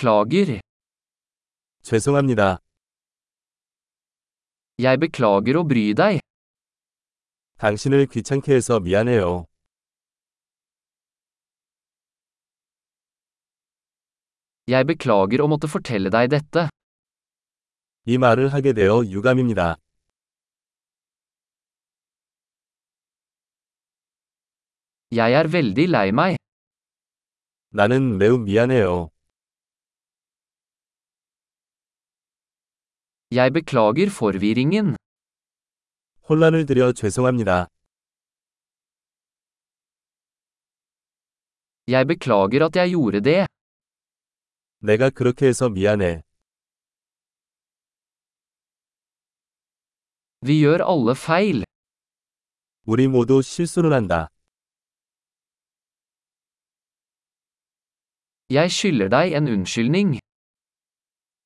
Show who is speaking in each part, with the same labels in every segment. Speaker 1: Beklager.
Speaker 2: 죄송합니다.
Speaker 1: Jeg beklager å bry deg.
Speaker 2: 당신을 귀찮게 해서 미안해요.
Speaker 1: Jeg beklager å måtte fortelle deg dette.
Speaker 2: 이 말을 하게 되어 유감입니다.
Speaker 1: Jeg er veldig lei meg.
Speaker 2: 나는 매우 미안해요.
Speaker 1: Jeg beklager forvirringen.
Speaker 2: 혼란을 드려 죄송합니다.
Speaker 1: Jeg beklager at jeg gjorde det.
Speaker 2: 내가 그렇게 해서 미안해.
Speaker 1: Vi gjør alle feil.
Speaker 2: 우리 모두 실수를 한다.
Speaker 1: Jeg skylder deg en unnskyldning.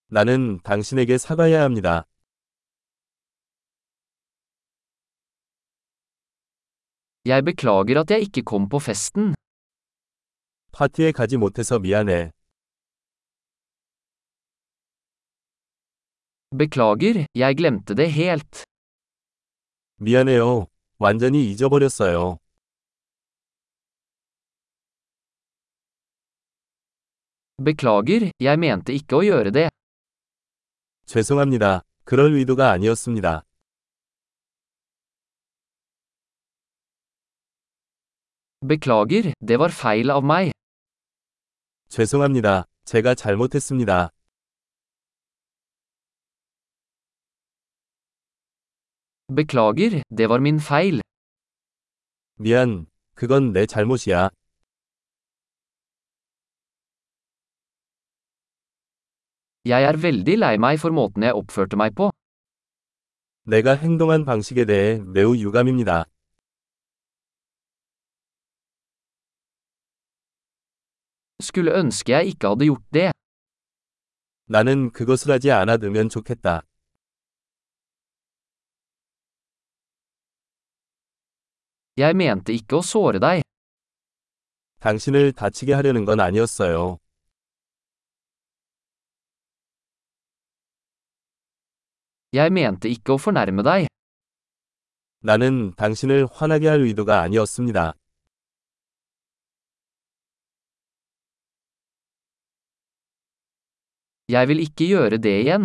Speaker 2: 나는 당신에게 사과해야 합니다.
Speaker 1: Jeg beklager at jeg ikke kom på festen.
Speaker 2: 파티에 가지 못해서 미안해.
Speaker 1: Beklager, jeg glemte det helt.
Speaker 2: 미안해요. 완전히 잊어버렸어요.
Speaker 1: Beklager, jeg mente ikke å gjøre det.
Speaker 2: 죄송합니다. 그럴 의도가 아니었습니다.
Speaker 1: Beklager, det var feil av meg.
Speaker 2: 죄송합니다. 제가 잘못했습니다.
Speaker 1: Beklager, det var min feil.
Speaker 2: 미안. 그건 내 잘못이야.
Speaker 1: Jeg er veldig lei meg for måten jeg oppførte meg på.
Speaker 2: 내가 행동한 방식에 대해 매우 유감입니다.
Speaker 1: Skulle ønske jeg ikke hadde gjort det.
Speaker 2: 나는 그것을 하지 않아두면 좋겠다.
Speaker 1: Jeg mente ikke å såre deg.
Speaker 2: 당신을 다치게 하려는 건 아니었어요.
Speaker 1: Jeg mente ikke å fornærme deg.
Speaker 2: 나는 당신을 화나게 할 의도가 아니었습니다.
Speaker 1: Jeg vil ikke gjøre det igjen.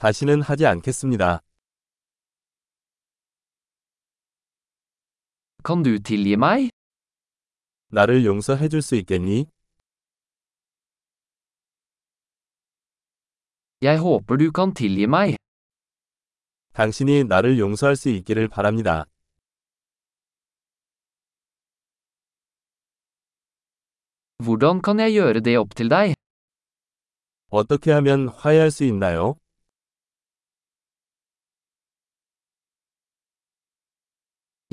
Speaker 2: 다시는 하지 않겠습니다.
Speaker 1: Kan du tilgi meg?
Speaker 2: 나를 용서해 줄 수 있겠니?
Speaker 1: Jeg håper du kan tilgi meg.
Speaker 2: 당신이 나를 용서할 수 있기를 바랍니다.
Speaker 1: Hvordan kan jeg gjøre det opp til deg?
Speaker 2: 어떻게 하면 화해할 수 있나요?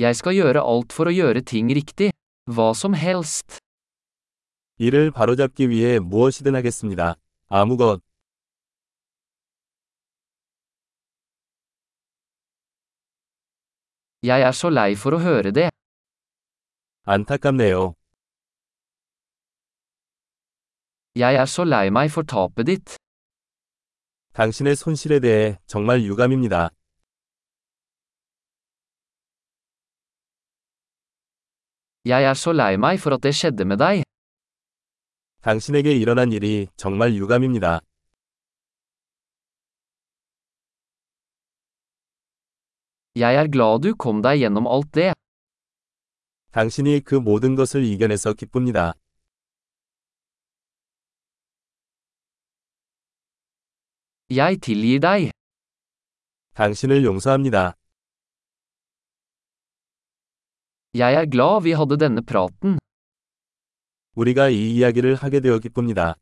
Speaker 1: Jeg skal gjøre alt for å gjøre ting riktig. Hva som helst.
Speaker 2: 이를 바로잡기 위해 무엇이든 하겠습니다. 아무것.
Speaker 1: Jeg er så lei for å høre det.
Speaker 2: 안타깝네요.
Speaker 1: Jeg er så lei meg for tapet ditt.
Speaker 2: 당신의 손실에 대해 정말 유감입니다.
Speaker 1: Jeg er så lei meg for at det skjedde med deg.
Speaker 2: 당신에게 일어난 일이 정말 유감입니다.
Speaker 1: Jeg er glad du kom deg gjennom alt det.
Speaker 2: 당신이 그 모든 것을 이겨내서 기쁩니다.
Speaker 1: Jeg tilgir deg.
Speaker 2: 당신을 용서합니다.
Speaker 1: Jeg er glad vi hadde denne praten.
Speaker 2: 우리가 이 이야기를 하게 되어 기쁩니다.